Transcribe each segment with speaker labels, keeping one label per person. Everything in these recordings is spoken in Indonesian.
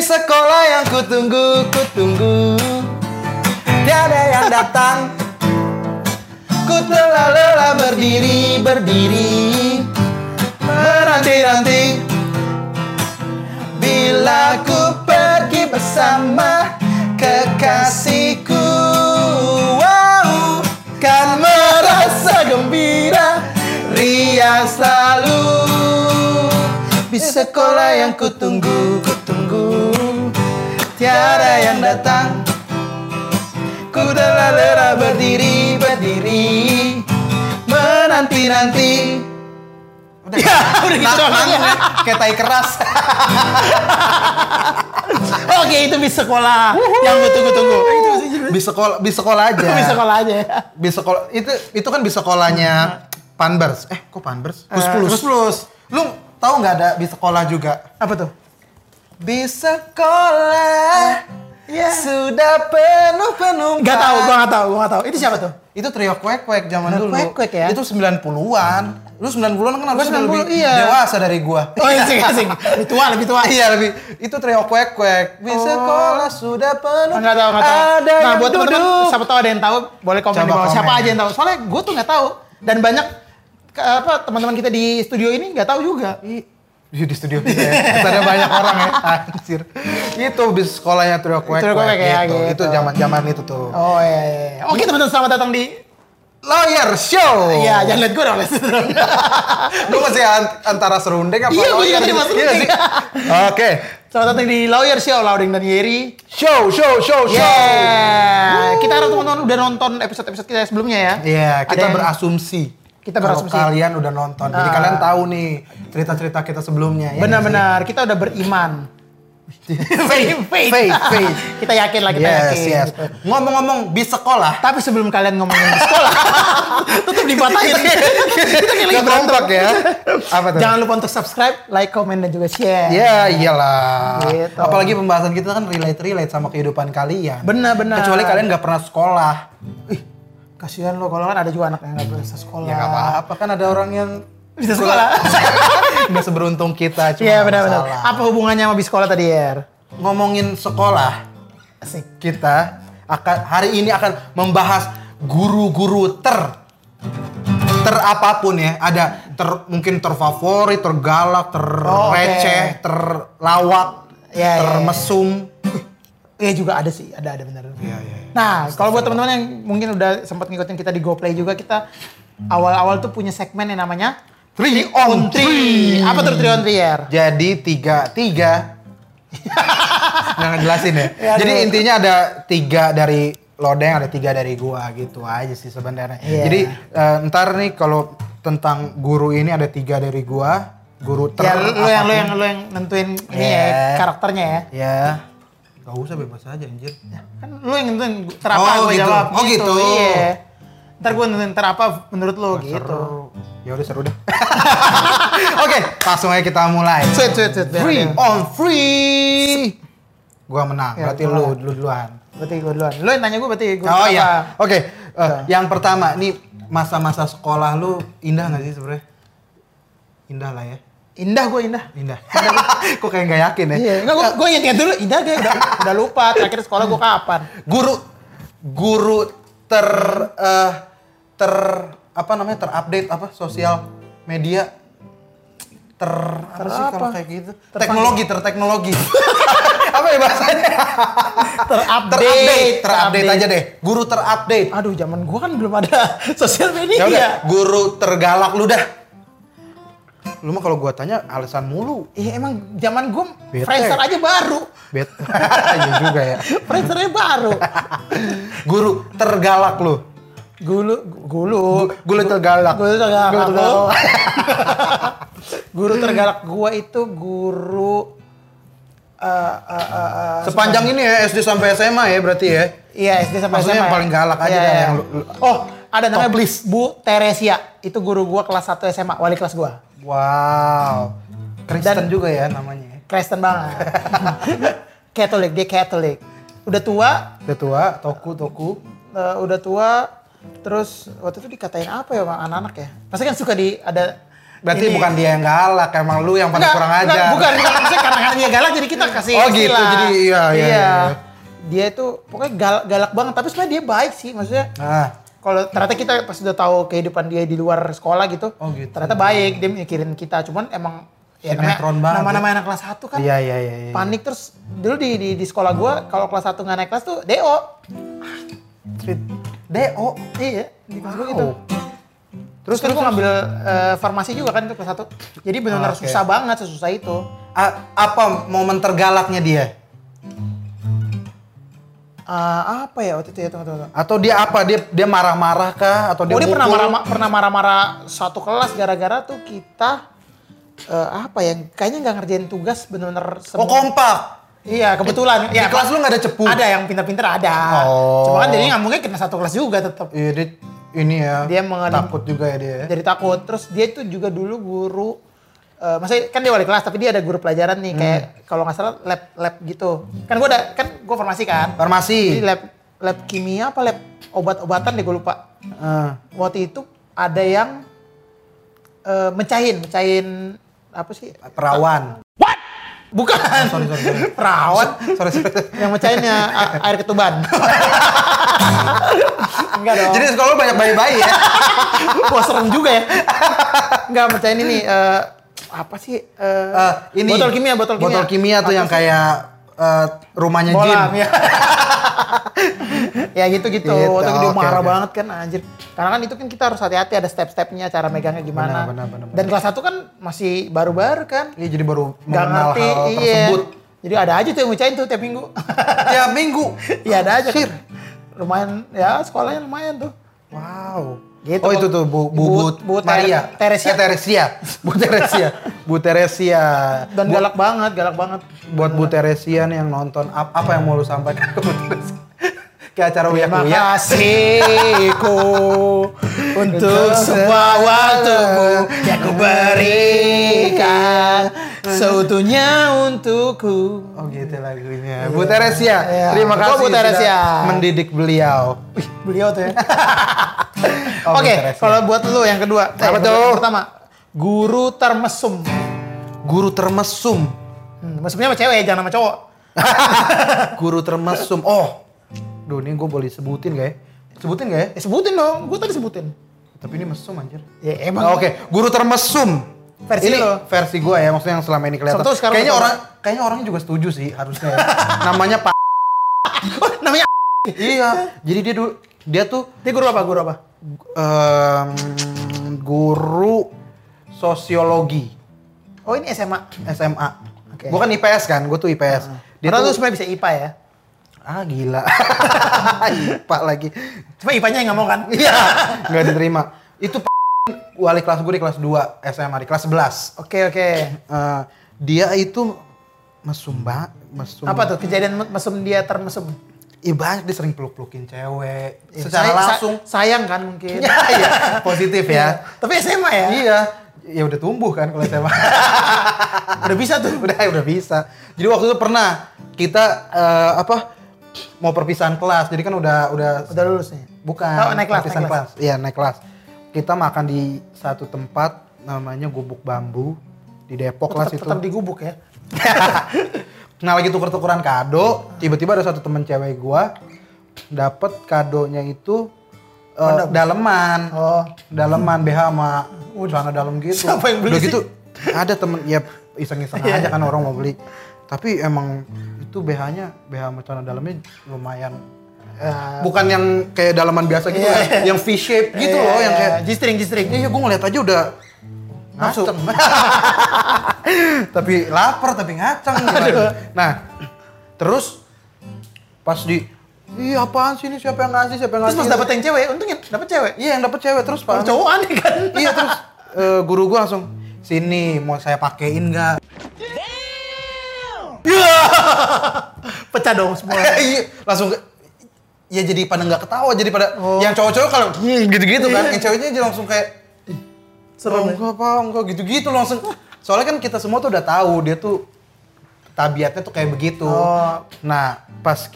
Speaker 1: sekolah yang kutunggu, kutunggu Tiada yang datang Ku telah lelah berdiri, berdiri Menanti-nanti Bila ku pergi bersama kekasihku Wow, kan merasa gembira Ria selalu Di sekolah yang kutunggu, kutunggu Tiada yang datang Ku telah lelah berdiri, berdiri Menanti-nanti Udah, udah gitu doang. Kayak tai keras
Speaker 2: Oke itu bis sekolah yang gue tunggu-tunggu.
Speaker 1: bisa sekolah bisa sekolah aja
Speaker 2: Bis sekolah Hmm. aja. ya.
Speaker 1: bisa sekolah itu itu kan bisa sekolahnya panbers eh kok panbers plus
Speaker 2: Eh,
Speaker 1: plus
Speaker 2: Kus Plus.
Speaker 1: lu tahu nggak ada bisa sekolah juga
Speaker 2: Apa tuh?
Speaker 1: bisa sekolah
Speaker 2: Iya.
Speaker 1: sudah penuh penumpang
Speaker 2: Gak tau, gue gak tau, gue gak tau. Itu siapa tuh?
Speaker 1: itu trio kuek kuek zaman
Speaker 2: Trio
Speaker 1: dulu
Speaker 2: Kwek-Kwek ya?
Speaker 1: itu 90-an lu 90-an kan harusnya udah
Speaker 2: 90,
Speaker 1: lebih
Speaker 2: iya.
Speaker 1: dewasa dari gua
Speaker 2: Oh iya, sing, sing. Lebih tua, lebih tua.
Speaker 1: Iya lebih itu trio kuek kuek bisa
Speaker 2: Oh.
Speaker 1: sekolah sudah penuh
Speaker 2: Enggak tahu, enggak tahu.
Speaker 1: ada
Speaker 2: nah,
Speaker 1: yang
Speaker 2: buat
Speaker 1: duduk
Speaker 2: teman-teman siapa tahu ada yang tahu, boleh komen
Speaker 1: Coba
Speaker 2: di bawah. Siapa
Speaker 1: komen.
Speaker 2: aja yang tahu? Soalnya gue tuh nggak tahu dan banyak ke- apa teman-teman kita di studio ini nggak tahu juga.
Speaker 1: I- Iya, di studio kita ya. Ada banyak orang ya. Anjir. Itu bis sekolahnya Trio Kuek.
Speaker 2: Trio Kuek ya,
Speaker 1: gitu.
Speaker 2: gitu.
Speaker 1: Itu zaman-zaman itu tuh.
Speaker 2: Oh iya, iya. iya. Oke teman-teman selamat datang di
Speaker 1: Lawyer show.
Speaker 2: Iya, jangan lihat gue dong. Les.
Speaker 1: Gue masih an- antara serundeng apa
Speaker 2: Iya, gua
Speaker 1: lawyer
Speaker 2: juga tadi
Speaker 1: gitu.
Speaker 2: mas
Speaker 1: Iya
Speaker 2: Runding.
Speaker 1: sih. Oke.
Speaker 2: Selamat datang di Lawyer Show Lauding dan Yeri.
Speaker 1: Show, show, show, show.
Speaker 2: Yeah. Kita harap teman-teman udah nonton episode-episode kita sebelumnya ya.
Speaker 1: Iya,
Speaker 2: Ada
Speaker 1: kita
Speaker 2: yang-
Speaker 1: berasumsi.
Speaker 2: Kita
Speaker 1: kalau
Speaker 2: berasumsi.
Speaker 1: kalian udah nonton. Jadi
Speaker 2: Ah.
Speaker 1: kalian tahu nih cerita-cerita kita sebelumnya. ya.
Speaker 2: Benar-benar kita udah beriman. faith, faith.
Speaker 1: Faith, faith.
Speaker 2: kita yakin lah, kita
Speaker 1: Yes,
Speaker 2: yakin.
Speaker 1: yes.
Speaker 2: gitu.
Speaker 1: Ngomong-ngomong bis sekolah,
Speaker 2: Tapi sebelum kalian ngomongin di sekolah, tetap dipatahin. kita kayak lagi
Speaker 1: Gak berontak ya. Apa tuh?
Speaker 2: Jangan lupa untuk subscribe, like, comment, dan juga share.
Speaker 1: Ya iyalah.
Speaker 2: Gitu.
Speaker 1: Apalagi pembahasan kita kan relate-relate sama kehidupan kalian.
Speaker 2: Benar-benar.
Speaker 1: Kecuali kalian nggak pernah sekolah.
Speaker 2: Kasihan lo kalau kan ada juga anak yang nggak bisa sekolah.
Speaker 1: Ya nggak apa-apa kan ada orang yang
Speaker 2: Bisa sekolah.
Speaker 1: nggak seberuntung kita. cuma
Speaker 2: Iya
Speaker 1: nggak
Speaker 2: benar-benar.
Speaker 1: masalah.
Speaker 2: Apa hubungannya sama bis sekolah tadi Yer?
Speaker 1: Ngomongin sekolah,
Speaker 2: Asik.
Speaker 1: kita akan hari ini akan membahas guru-guru ter ter apapun ya ada ter mungkin terfavorit tergalak
Speaker 2: Oh, oke.
Speaker 1: terreceh terlawak
Speaker 2: Ya, ya, ya.
Speaker 1: termesum
Speaker 2: Iya juga ada sih, ada ada benar.
Speaker 1: Iya, iya, iya.
Speaker 2: Nah, kalau buat teman-teman yang mungkin udah sempat ngikutin kita di GoPlay juga kita awal-awal tuh punya segmen yang namanya
Speaker 1: Three on three.
Speaker 2: Apa tuh Three on Three Yer?
Speaker 1: Jadi tiga tiga. Nggak ngejelasin ya.
Speaker 2: Ya,
Speaker 1: Jadi
Speaker 2: aduh.
Speaker 1: intinya ada tiga dari lodeng, ada tiga dari gua gitu aja sih sebenarnya.
Speaker 2: Iya.
Speaker 1: Jadi eh, ntar nih kalau tentang guru ini ada tiga dari gua, guru ter.
Speaker 2: Ya, lo yang lo
Speaker 1: apapun.
Speaker 2: yang lo yang nentuin ini
Speaker 1: Iya.
Speaker 2: ya karakternya ya.
Speaker 1: Ya. Gak usah bebas aja anjir. Gitu.
Speaker 2: Kan lo yang nentuin terapa
Speaker 1: Oh, gitu.
Speaker 2: gue jawab.
Speaker 1: Oh, gitu.
Speaker 2: Iya. Ntar gue nentuin terapa menurut lo gitu.
Speaker 1: Seru. Ya udah seru deh. Oke, langsung aja kita mulai.
Speaker 2: Sweet sweet sweet. biar
Speaker 1: Free
Speaker 2: ada.
Speaker 1: on free. Gua menang,
Speaker 2: Ya,
Speaker 1: berarti
Speaker 2: gua
Speaker 1: lu dulu duluan.
Speaker 2: Berarti gue duluan. Lo yang nanya gue berarti gue.
Speaker 1: Oh
Speaker 2: terapa.
Speaker 1: iya, oke. Eh, yang pertama, nih masa-masa sekolah lu indah nggak sih sebenarnya? Indah lah ya,
Speaker 2: Indah gue indah.
Speaker 1: indah. Kok kayak nggak yakin ya?
Speaker 2: Iya, enggak gue gue ingat dulu. Indah gue udah, udah lupa terakhir sekolah gue kapan.
Speaker 1: Guru, guru ter eh, ter apa namanya terupdate apa sosial media ter apa sih
Speaker 2: Ter
Speaker 1: kalau
Speaker 2: apa?
Speaker 1: kayak gitu?
Speaker 2: Terpanggil.
Speaker 1: Teknologi, terteknologi. apa ya bahasanya?
Speaker 2: Terupdate,
Speaker 1: Terupdate, terupdate aja deh. Guru terupdate.
Speaker 2: Aduh, zaman gue kan belum ada sosial media.
Speaker 1: Ya udah, guru tergalak lu dah. Lu mah kalau gua tanya alasan mulu.
Speaker 2: Iya emang zaman gue
Speaker 1: Bete.
Speaker 2: Friendster aja baru.
Speaker 1: Bet. Iya juga ya.
Speaker 2: Friendster aja baru.
Speaker 1: Guru tergalak lu.
Speaker 2: Gulu, gulu,
Speaker 1: Guru tergalak.
Speaker 2: gulu tergalak.
Speaker 1: Guru
Speaker 2: aku.
Speaker 1: tergalak.
Speaker 2: guru tergalak gue itu guru eh, eh, eh, eh,
Speaker 1: Sepanjang ini ya SD sampai SMA ya berarti ya.
Speaker 2: Iya SD sampai
Speaker 1: Maksudnya
Speaker 2: SMA
Speaker 1: yang
Speaker 2: ya?
Speaker 1: paling galak aja
Speaker 2: Iya,
Speaker 1: dah,
Speaker 2: iya.
Speaker 1: yang lu- lu-
Speaker 2: Oh ada namanya
Speaker 1: Top list.
Speaker 2: Bu Teresia itu guru gua kelas 1 SMA wali kelas gua
Speaker 1: Wow. Kristen juga ya namanya.
Speaker 2: Kristen banget Katolik dia Katolik udah tua
Speaker 1: Udah tua, toku toku.
Speaker 2: eh, udah tua terus waktu itu dikatain apa ya bang anak-anak ya pasti kan suka di ada
Speaker 1: Berarti
Speaker 2: Ini-
Speaker 1: bukan dia yang galak, emang lu yang paling
Speaker 2: Enggak,
Speaker 1: kurang
Speaker 2: enggak,
Speaker 1: ajar.
Speaker 2: bukan, bukan. Maksudnya karena karena dia galak jadi kita kasih
Speaker 1: Oh, gitu.
Speaker 2: istilah.
Speaker 1: Jadi, iya, iya, iya.
Speaker 2: Dia itu pokoknya galak, galak banget, tapi sebenarnya dia baik sih. Maksudnya
Speaker 1: Ah,
Speaker 2: kalau ternyata kita pas udah tahu kehidupan dia di luar sekolah gitu,
Speaker 1: Oh, gitu.
Speaker 2: ternyata baik dia mikirin kita. Cuman emang ya namanya-
Speaker 1: Sinetron banget.
Speaker 2: nama-nama anak kelas 1 kan
Speaker 1: iya iya iya. iya.
Speaker 2: panik terus dulu di di, di sekolah gua kalau kelas 1 nggak naik kelas tuh DO.
Speaker 1: Street DO.
Speaker 2: Iya, di kelas gua
Speaker 1: Wow.
Speaker 2: gitu. Terus kan gua ngambil eh, farmasi juga kan itu kelas 1. Jadi
Speaker 1: Ah,
Speaker 2: benar-benar
Speaker 1: oke.
Speaker 2: susah banget sesusah itu.
Speaker 1: A- apa momen tergalaknya dia?
Speaker 2: Ah, apa ya waktu itu ya tunggu tunggu. tunggu.
Speaker 1: Atau dia apa? Dia dia marah-marah kah? Atau dia,
Speaker 2: Oh, dia pernah
Speaker 1: mukul?
Speaker 2: marah pernah marah-marah satu kelas gara-gara tuh kita eh, apa ya kayaknya nggak ngerjain tugas benar-benar
Speaker 1: Oh kompak.
Speaker 2: Iya, kebetulan.
Speaker 1: Di kelas lu nggak ada cepu?
Speaker 2: Ada yang pintar-pintar ada.
Speaker 1: Oh.
Speaker 2: Cuma kan jadi nggak mungkin kita satu kelas juga tetap.
Speaker 1: Iya dia ini ya.
Speaker 2: Dia mengenim-
Speaker 1: takut juga ya dia.
Speaker 2: Jadi takut. Terus dia itu juga dulu guru eh maksudnya kan dia wali kelas tapi dia ada guru pelajaran nih kayak kalau nggak salah lab lab gitu. Kan gua ada kan gua formasi kan. Jadi
Speaker 1: Farmasi.
Speaker 2: lab lab kimia apa lab obat-obatan deh gua lupa.
Speaker 1: Ah.
Speaker 2: Waktu itu ada yang eh mecahin, mecahin apa sih?
Speaker 1: perawan.
Speaker 2: Bukan.
Speaker 1: Oh, sorry, sorry, sorry.
Speaker 2: Perawan.
Speaker 1: Sorry, sorry.
Speaker 2: yang mecahinnya a- air ketuban. Enggak dong.
Speaker 1: Jadi sekolah lu banyak bayi-bayi ya.
Speaker 2: Wah serem juga ya. Enggak mecahin ini eh, apa sih? eh,
Speaker 1: Eh, ini
Speaker 2: botol kimia, botol kimia.
Speaker 1: Botol kimia tuh
Speaker 2: Apa
Speaker 1: yang
Speaker 2: sih?
Speaker 1: kayak eh, rumahnya
Speaker 2: bolam
Speaker 1: Jin.
Speaker 2: ya. ya gitu-gitu.
Speaker 1: Gitu,
Speaker 2: Waktu itu dia
Speaker 1: oke,
Speaker 2: marah
Speaker 1: oke.
Speaker 2: banget kan anjir. Karena kan itu kan kita harus hati-hati ada step-stepnya cara megangnya gimana.
Speaker 1: Benar, benar, benar, benar.
Speaker 2: Dan kelas 1 kan masih baru-baru kan.
Speaker 1: Iya jadi baru
Speaker 2: Enggak
Speaker 1: mengenal
Speaker 2: ngerti.
Speaker 1: hal
Speaker 2: iya.
Speaker 1: tersebut.
Speaker 2: Jadi ada aja tuh yang mecahin tuh tiap minggu.
Speaker 1: Tiap minggu.
Speaker 2: Iya ada aja kan. Lumayan ya sekolahnya lumayan tuh.
Speaker 1: Wow.
Speaker 2: Gitu.
Speaker 1: oh itu tuh Bu, bu,
Speaker 2: Bu- Bu
Speaker 1: Bu
Speaker 2: Ter-
Speaker 1: Maria.
Speaker 2: Teresia.
Speaker 1: Eh, Teresia. Bu Teresia. Bu Teresia.
Speaker 2: Dan galak banget, galak banget.
Speaker 1: Buat Bu Teresia nih yang nonton ap- apa yang mau lu sampaikan ke Bu Teresia? Kayak acara uyak
Speaker 2: Terima
Speaker 1: uyak.
Speaker 2: kasihku untuk semua waktumu yang ku berikan seutuhnya untukku.
Speaker 1: Oh gitu lagunya. Bu Teresia.
Speaker 2: Iya.
Speaker 1: Terima
Speaker 2: Gua
Speaker 1: kasih
Speaker 2: Bu
Speaker 1: sudah
Speaker 2: Teresia.
Speaker 1: mendidik beliau.
Speaker 2: Wih, beliau tuh ya.
Speaker 1: Oh,
Speaker 2: Oke,
Speaker 1: Bu Teresia.
Speaker 2: kalau buat lu yang kedua.
Speaker 1: Apa
Speaker 2: yang
Speaker 1: tuh?
Speaker 2: kedua- yang Pertama, guru termesum.
Speaker 1: Guru termesum.
Speaker 2: Hmm, mesumnya sama cewek, jangan sama cowok.
Speaker 1: Guru termesum. Oh. Duh ini gue boleh sebutin gak ya? Sebutin gak ya?
Speaker 2: Ya, sebutin dong, gue tadi sebutin.
Speaker 1: Tapi ini mesum anjir.
Speaker 2: Ya emang.
Speaker 1: Oh, Oke, guru termesum.
Speaker 2: Versi
Speaker 1: ini
Speaker 2: lo.
Speaker 1: versi gua ya, maksudnya yang selama ini kelihatan.
Speaker 2: Sebetulnya sekarang
Speaker 1: Kayaknya
Speaker 2: udah
Speaker 1: orang kayaknya orangnya juga setuju sih harusnya. ya. Namanya Pak.
Speaker 2: Oh, namanya
Speaker 1: iya. Jadi dia dulu dia tuh
Speaker 2: Dia guru apa? Guru apa?
Speaker 1: em, guru sosiologi
Speaker 2: Oh ini SMA.
Speaker 1: SMA.
Speaker 2: Oke.
Speaker 1: Bukan IPS kan, gue tuh IPS. Dia
Speaker 2: Padahal lu
Speaker 1: tuh,
Speaker 2: sebenarnya bisa IPA ya.
Speaker 1: ah gila. IPA lagi.
Speaker 2: Cuma IPA-nya yang nggak mau kan?
Speaker 1: Iya, nggak diterima. Itu Pak wali kelas gue di kelas 2 SMA di kelas 11.
Speaker 2: Oke oke.
Speaker 1: Eh, dia itu mesumba mesum
Speaker 2: Apa tuh kejadian me- mesum dia termesum?
Speaker 1: Iya banyak dia sering peluk-pelukin cewek
Speaker 2: Ya,
Speaker 1: secara
Speaker 2: say- sa-
Speaker 1: langsung.
Speaker 2: sayang kan mungkin.
Speaker 1: Iya, iya, positif ya.
Speaker 2: Tapi SMA ya.
Speaker 1: iya, ya udah tumbuh kan kalau SMA.
Speaker 2: Udah bisa tuh.
Speaker 1: udah udah bisa. Jadi waktu itu pernah kita eh, apa mau perpisahan kelas. Jadi kan udah udah
Speaker 2: Udah lulus nih.
Speaker 1: bukan
Speaker 2: Oh, naik kelas,
Speaker 1: perpisahan
Speaker 2: naik kelas.
Speaker 1: Iya, naik kelas. Kita makan di satu tempat namanya Gubuk Bambu di Depok
Speaker 2: Tetap,
Speaker 1: Oh, kelas itu.
Speaker 2: tetap di gubuk ya.
Speaker 1: nah lagi tuker-tukeran kado, tiba-tiba ada satu temen cewek gua dapet kadonya itu eh, daleman,
Speaker 2: Oh.
Speaker 1: daleman BH sama celana dalam gitu.
Speaker 2: Siapa yang beli
Speaker 1: Udah
Speaker 2: sih?
Speaker 1: gitu ada temen ya iseng-iseng aja kan orang mau beli. Tapi emang itu BH-nya BH sama celana dalamnya lumayan
Speaker 2: Ya.
Speaker 1: bukan yang kayak daleman biasa gitu
Speaker 2: Iya,
Speaker 1: ya, yang V shape gitu
Speaker 2: Iya,
Speaker 1: loh yang
Speaker 2: iya.
Speaker 1: kayak
Speaker 2: G-string, G-string.
Speaker 1: Iya, gue ngeliat aja udah
Speaker 2: Nafsu.
Speaker 1: ngaceng. tapi lapar, tapi ngaceng. gitu. Nah, terus pas di, iya apaan sih ini siapa yang ngasih, siapa yang
Speaker 2: Terus
Speaker 1: ngasih.
Speaker 2: pas dapet yang cewek, untungnya dapet cewek.
Speaker 1: Iya yang dapet cewek, terus
Speaker 2: Kalau
Speaker 1: pak.
Speaker 2: cowok aneh kan.
Speaker 1: Iya terus eh, guru gue langsung, sini mau saya pakein nggak?
Speaker 2: Pecah dong semua.
Speaker 1: Iya, langsung ke- ya jadi pada nggak ketawa jadi pada yang cowok-cowok kalau "Hmm," gitu-gitu kan yang ceweknya jadi langsung kayak
Speaker 2: Iya. Serem.
Speaker 1: Oh,
Speaker 2: ya.
Speaker 1: enggak apa, enggak gitu-gitu langsung. Soalnya kan kita semua tuh udah tahu dia tuh tabiatnya tuh kayak begitu.
Speaker 2: Oh.
Speaker 1: Nah, pas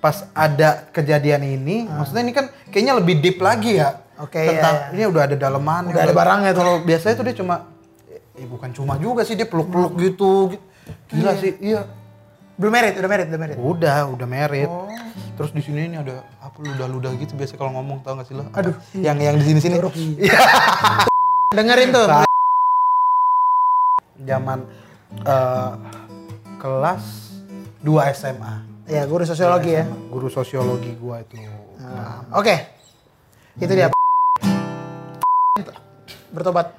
Speaker 1: pas ada kejadian ini, maksudnya ini kan kayaknya lebih deep lagi ya.
Speaker 2: Ah. Oke,
Speaker 1: tentang
Speaker 2: iya, iya.
Speaker 1: ini udah ada daleman,
Speaker 2: Udah ada barangnya tuh.
Speaker 1: Kalau biasanya tuh dia cuma eh bukan cuma juga sih dia peluk-peluk
Speaker 2: Hmm.
Speaker 1: gitu. Gila sih, iya.
Speaker 2: Belum merit, udah merit, udah merit.
Speaker 1: Udah, udah merit.
Speaker 2: Oh.
Speaker 1: Terus di sini ini ada apa ludah-ludah gitu biasa kalau ngomong tau gak sih lo? Aduh, yang yang di sini-sini. Iya.
Speaker 2: Dengerin tuh.
Speaker 1: Sa- Zaman eh, kelas 2 SMA.
Speaker 2: Ya, guru sosiologi ya.
Speaker 1: Guru sosiologi gua itu. Nah, Iya.
Speaker 2: Oke. Itu dia. Bertobat.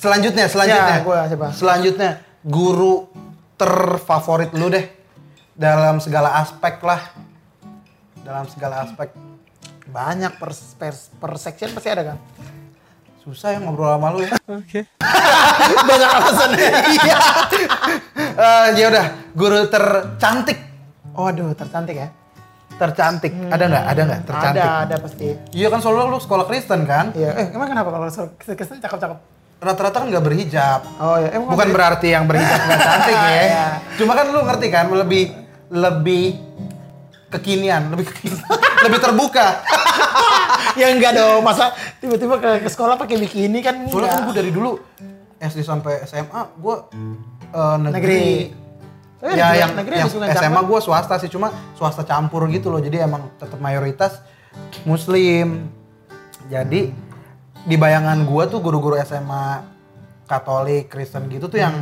Speaker 1: Selanjutnya, selanjutnya.
Speaker 2: Ya, gua siapa?
Speaker 1: Selanjutnya, guru terfavorit lu deh. Dalam segala aspek lah. Dalam segala aspek.
Speaker 2: Banyak per, per, per section pasti ada kan?
Speaker 1: Susah ya ngobrol sama lu ya.
Speaker 2: Banyak alasan.
Speaker 1: Iya. Eh, ya udah, guru tercantik.
Speaker 2: Waduh, tercantik ya.
Speaker 1: Tercantik. Ada nggak? Ada nggak? Tercantik.
Speaker 2: Ada, ada pasti.
Speaker 1: Iya kan soalnya lu sekolah Kristen kan?
Speaker 2: Iya, eh emang kenapa kalau soal Kristen cakep-cakep?
Speaker 1: Rata-rata kan nggak berhijab.
Speaker 2: Oh ya, emang
Speaker 1: Bukan berarti yang berhijab nggak cantik ya.
Speaker 2: Iya.
Speaker 1: Cuma kan lu ngerti kan lebih lebih kekinian, lebih kekinian, lebih terbuka.
Speaker 2: ya enggak dong, masa tiba-tiba ke, ke sekolah pakai bikini kan?
Speaker 1: Soalnya kan
Speaker 2: enggak.
Speaker 1: gue dari dulu SD sampai SMA gue eh, negeri.
Speaker 2: negeri. Tapi
Speaker 1: ya
Speaker 2: negeri-
Speaker 1: yang,
Speaker 2: Eh, negeri
Speaker 1: yang
Speaker 2: ada sungai
Speaker 1: SMA
Speaker 2: Cakep.
Speaker 1: gue swasta sih cuma swasta campur gitu loh jadi emang tetap mayoritas muslim jadi di bayangan gue tuh guru-guru SMA Katolik Kristen gitu tuh yang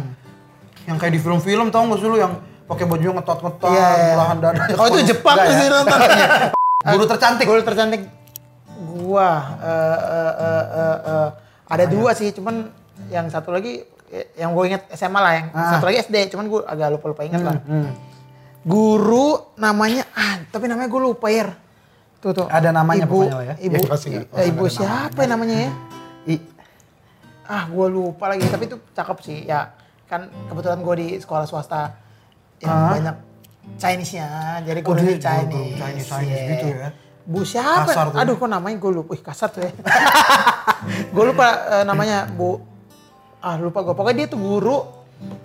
Speaker 1: yang kayak di film-film tau gak sih lu yang pakai baju yang ngetot-ngetot
Speaker 2: Hmm. Iya, iya.
Speaker 1: belahan dada
Speaker 2: Oh, itu Jepang
Speaker 1: Enggak
Speaker 2: tuh
Speaker 1: ya?
Speaker 2: sih nonton.
Speaker 1: Iya. guru tercantik
Speaker 2: Gol tercantik gua eh, eh, eh, eh, eh, ada dua sih, cuman yang satu lagi eh, yang gue inget SMA lah yang
Speaker 1: Ah.
Speaker 2: satu lagi SD, cuman gue agak lupa lupa inget lah.
Speaker 1: Hmm.
Speaker 2: Guru namanya ah, tapi namanya gue lupa ya. Tuh tuh.
Speaker 1: Ada namanya
Speaker 2: ibu,
Speaker 1: pokoknya lah ya.
Speaker 2: Ibu,
Speaker 1: Ya, pasti
Speaker 2: i-
Speaker 1: nggak.
Speaker 2: eh, ibu
Speaker 1: Ada
Speaker 2: siapa ya namanya ya?
Speaker 1: I-
Speaker 2: Ah, gue lupa lagi, tapi itu cakep sih. Ya, kan kebetulan gue di sekolah swasta yang
Speaker 1: Ah.
Speaker 2: banyak Chinese-nya, jadi
Speaker 1: Oh,
Speaker 2: gurunya
Speaker 1: dia guru-
Speaker 2: Chinese.
Speaker 1: guru Chinese- Chinese gitu ya.
Speaker 2: Bu siapa?
Speaker 1: Kasar tuh.
Speaker 2: Aduh, kok namanya gue lupa. Ih, kasar tuh ya. gue lupa eh, namanya Bu. Ah, lupa gue. Pokoknya dia tuh guru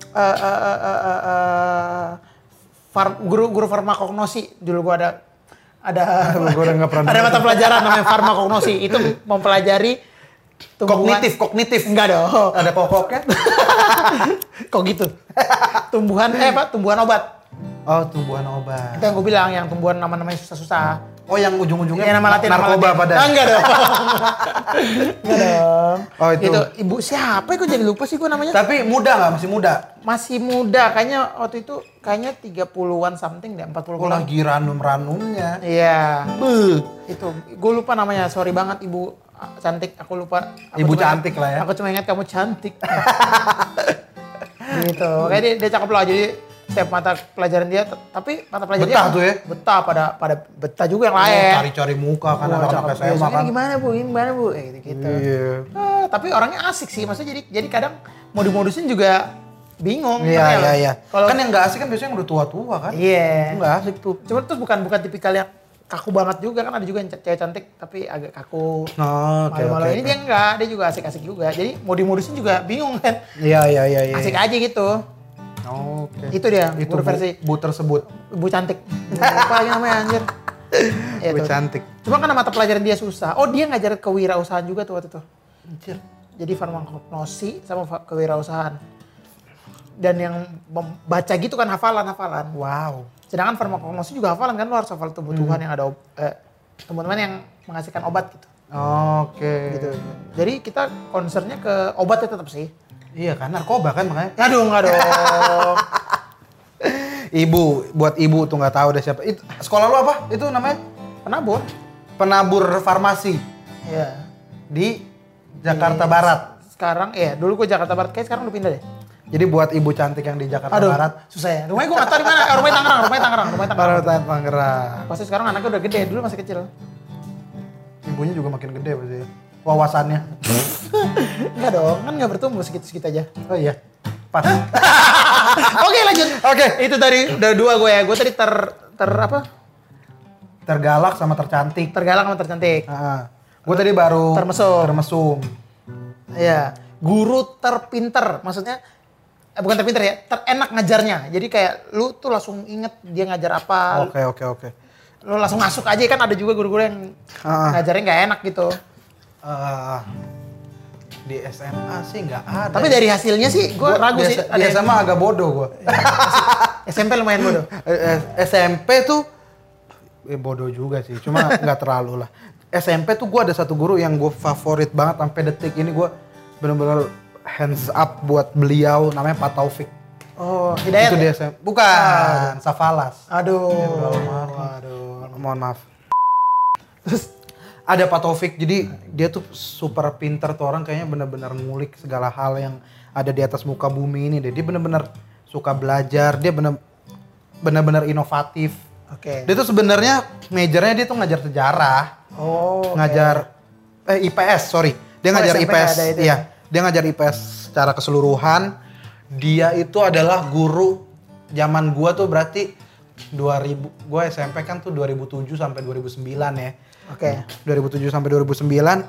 Speaker 2: eh eh, eh, eh, eh, eh, far- guru guru farmakognosi dulu gue ada ada
Speaker 1: Gua udah nggak pernah
Speaker 2: ada mata pelajaran namanya farmakognosi itu mempelajari tumbuhan-
Speaker 1: kognitif kognitif
Speaker 2: Enggak dong.
Speaker 1: ada kokoknya
Speaker 2: Kok gitu? tumbuhan eh apa? Tumbuhan obat.
Speaker 1: oh tumbuhan obat
Speaker 2: Itu yang gue bilang yang tumbuhan nama-namanya susah-susah.
Speaker 1: oh yang ujung-ujungnya
Speaker 2: Ya, nama Latin nama
Speaker 1: narkoba
Speaker 2: Latin.
Speaker 1: pada
Speaker 2: Ah, enggak dong. enggak dong.
Speaker 1: Oh, itu.
Speaker 2: ibu siapa? ya? Kok jadi lupa sih gue namanya?
Speaker 1: tapi muda nggak masih muda
Speaker 2: Masih muda kayaknya waktu itu kayaknya 30-an something deh, 40
Speaker 1: Oh
Speaker 2: an
Speaker 1: lagi ranum-ranumnya.
Speaker 2: Iya.
Speaker 1: Beuh.
Speaker 2: Itu gue lupa namanya. Sorry banget ibu ah, cantik. Aku lupa. Aku
Speaker 1: Ibu
Speaker 2: cuma
Speaker 1: cantik
Speaker 2: ingat-
Speaker 1: lah ya.
Speaker 2: Aku cuma ingat kamu cantik. gitu. Kayak dia, dia cakep lah. Jadi setiap mata pelajaran dia, t- tapi mata pelajaran
Speaker 1: Betah
Speaker 2: dia-
Speaker 1: tuh ya?
Speaker 2: Betah pada pada betah juga yang
Speaker 1: Oh,
Speaker 2: lain.
Speaker 1: cari-cari muka kan
Speaker 2: Wah,
Speaker 1: anak-anak
Speaker 2: cakep.
Speaker 1: SMA
Speaker 2: Besoknya
Speaker 1: kan.
Speaker 2: Gimana bu? Gimana bu? Kayak gitu. -gitu.
Speaker 1: Iya.
Speaker 2: Ah, tapi orangnya asik sih. Maksudnya jadi jadi kadang mau dimodusin juga bingung.
Speaker 1: Iya,
Speaker 2: Ngerti
Speaker 1: iya,
Speaker 2: nggak?
Speaker 1: iya.
Speaker 2: Kalau
Speaker 1: Kan yang gak asik kan biasanya yang udah tua-tua kan.
Speaker 2: Iya.
Speaker 1: Nggak asik tuh.
Speaker 2: Cuma terus bukan bukan tipikal yang kaku banget juga kan ada juga yang cewek cantik tapi agak kaku.
Speaker 1: Nah, oke,
Speaker 2: Malu-malu
Speaker 1: oke,
Speaker 2: ini
Speaker 1: oke.
Speaker 2: dia enggak, dia juga asik-asik juga. Jadi mau dimodusin juga bingung kan.
Speaker 1: Iya, iya, iya, iya.
Speaker 2: Asik aja gitu.
Speaker 1: Oke.
Speaker 2: Itu dia,
Speaker 1: Itu
Speaker 2: guru
Speaker 1: bu,
Speaker 2: versi.
Speaker 1: bu tersebut.
Speaker 2: Ibu cantik. Apa lagi namanya anjir? Ya,
Speaker 1: Bu
Speaker 2: tuh.
Speaker 1: cantik.
Speaker 2: Cuma karena mata pelajaran dia susah. Oh, dia ngajar kewirausahaan juga tuh waktu itu.
Speaker 1: Anjir.
Speaker 2: Jadi farmakognosi sama fa- kewirausahaan. Dan yang mem- baca gitu kan hafalan-hafalan.
Speaker 1: Wow.
Speaker 2: Sedangkan farmakognosi juga hafalan kan, lo harus hafal tubuh-tubuhan yang ada ob- eh, teman-teman yang menghasilkan obat gitu.
Speaker 1: Oke.
Speaker 2: gitu. Jadi kita concernnya ke obatnya tetap sih.
Speaker 1: Iya kan narkoba kan makanya.
Speaker 2: Aduh, enggak dong.
Speaker 1: Ibu, buat ibu tuh nggak tahu deh siapa. Itu, sekolah lu apa? Itu namanya
Speaker 2: Penabur.
Speaker 1: penabur farmasi
Speaker 2: Ya.
Speaker 1: di Jakarta Barat.
Speaker 2: Sekarang ya, dulu gue Jakarta Barat, kayak sekarang udah pindah deh.
Speaker 1: Jadi buat ibu cantik yang di Jakarta
Speaker 2: Aduh,
Speaker 1: Barat,
Speaker 2: susah ya. Rumahnya gue nggak tahu di mana. Eh, Rumahnya Tangerang, rumahnya Tangerang, rumahnya Tangerang.
Speaker 1: Barat Tangerang.
Speaker 2: Pasti sekarang anaknya udah gede, dulu masih kecil.
Speaker 1: ibunya juga makin gede pasti ya. wawasannya
Speaker 2: Enggak dong, kan nggak bertumbuh segitu-segitu aja.
Speaker 1: oh iya pas
Speaker 2: Oke, lanjut.
Speaker 1: Oke.
Speaker 2: Itu tadi udah dua gue ya. Gue tadi ter ter apa?
Speaker 1: tergalak sama tercantik
Speaker 2: Tergalang sama tercantik.
Speaker 1: gue tadi baru
Speaker 2: Termesum.
Speaker 1: termesum
Speaker 2: Iya, guru terpinter, maksudnya eh, bukan terpinter ya, terenak ngajarnya. Jadi kayak lu tuh langsung inget dia ngajar apa,
Speaker 1: oke oke oke
Speaker 2: lu langsung masuk aja kan ada juga guru-guru yang
Speaker 1: Ah.
Speaker 2: ngajarnya nggak enak gitu.
Speaker 1: Eh, di SMA sih nggak ada.
Speaker 2: Tapi dari hasilnya sih gue
Speaker 1: Gua
Speaker 2: ragu
Speaker 1: di-
Speaker 2: sih.
Speaker 1: Di
Speaker 2: Ada yang-
Speaker 1: SMA agak bodoh gue.
Speaker 2: SMP lumayan bodoh.
Speaker 1: Eh, SMP tuh eh, bodoh juga sih, cuma nggak terlalu lah. SMP tuh gue ada satu guru yang gue favorit banget sampai detik ini gue bener-bener hands up buat beliau namanya Pak Taufik.
Speaker 2: Oh, Hidayat.
Speaker 1: Itu
Speaker 2: ya?
Speaker 1: dia saya. Bukan, Safalas.
Speaker 2: Aduh.
Speaker 1: Iya, Waduh, mohon maaf. Terus ada Pak Taufik, jadi dia tuh super pinter tuh orang kayaknya bener-bener ngulik segala hal yang ada di atas muka bumi ini deh. Dia bener-bener suka belajar, dia bener bener-bener inovatif.
Speaker 2: Oke.
Speaker 1: Dia tuh sebenarnya majornya dia tuh ngajar sejarah,
Speaker 2: Oh. oke.
Speaker 1: ngajar eh IPS, sorry. Dia
Speaker 2: Oh,
Speaker 1: ngajar
Speaker 2: SMP
Speaker 1: IPS,
Speaker 2: ada itu ya?
Speaker 1: iya. Dia ngajar IPS secara keseluruhan. Dia itu adalah guru zaman gua tuh berarti 2000 gua SMP kan tuh 2007 sampai 2009 ya.
Speaker 2: Oke.
Speaker 1: 2007 sampai 2009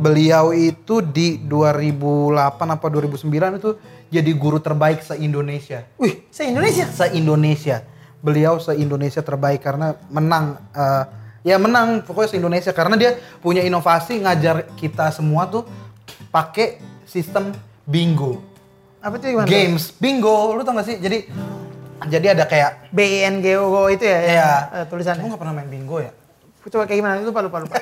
Speaker 1: beliau itu di 2008 apa 2009 itu jadi guru terbaik se-Indonesia
Speaker 2: Wih, saya Indonesia.
Speaker 1: se-Indonesia. Beliau se-Indonesia terbaik karena menang eh, ya menang pokoknya se-Indonesia karena dia punya inovasi ngajar kita semua tuh pakai sistem bingo.
Speaker 2: Apa tuh gimana?
Speaker 1: Games bingo, lu tau gak sih? Jadi jadi ada kayak
Speaker 2: B I N G O itu ya,
Speaker 1: Iya.
Speaker 2: ya
Speaker 1: Lu
Speaker 2: tulisannya.
Speaker 1: nggak pernah main bingo ya?
Speaker 2: Coba kayak gimana? Lupa lupa lupa.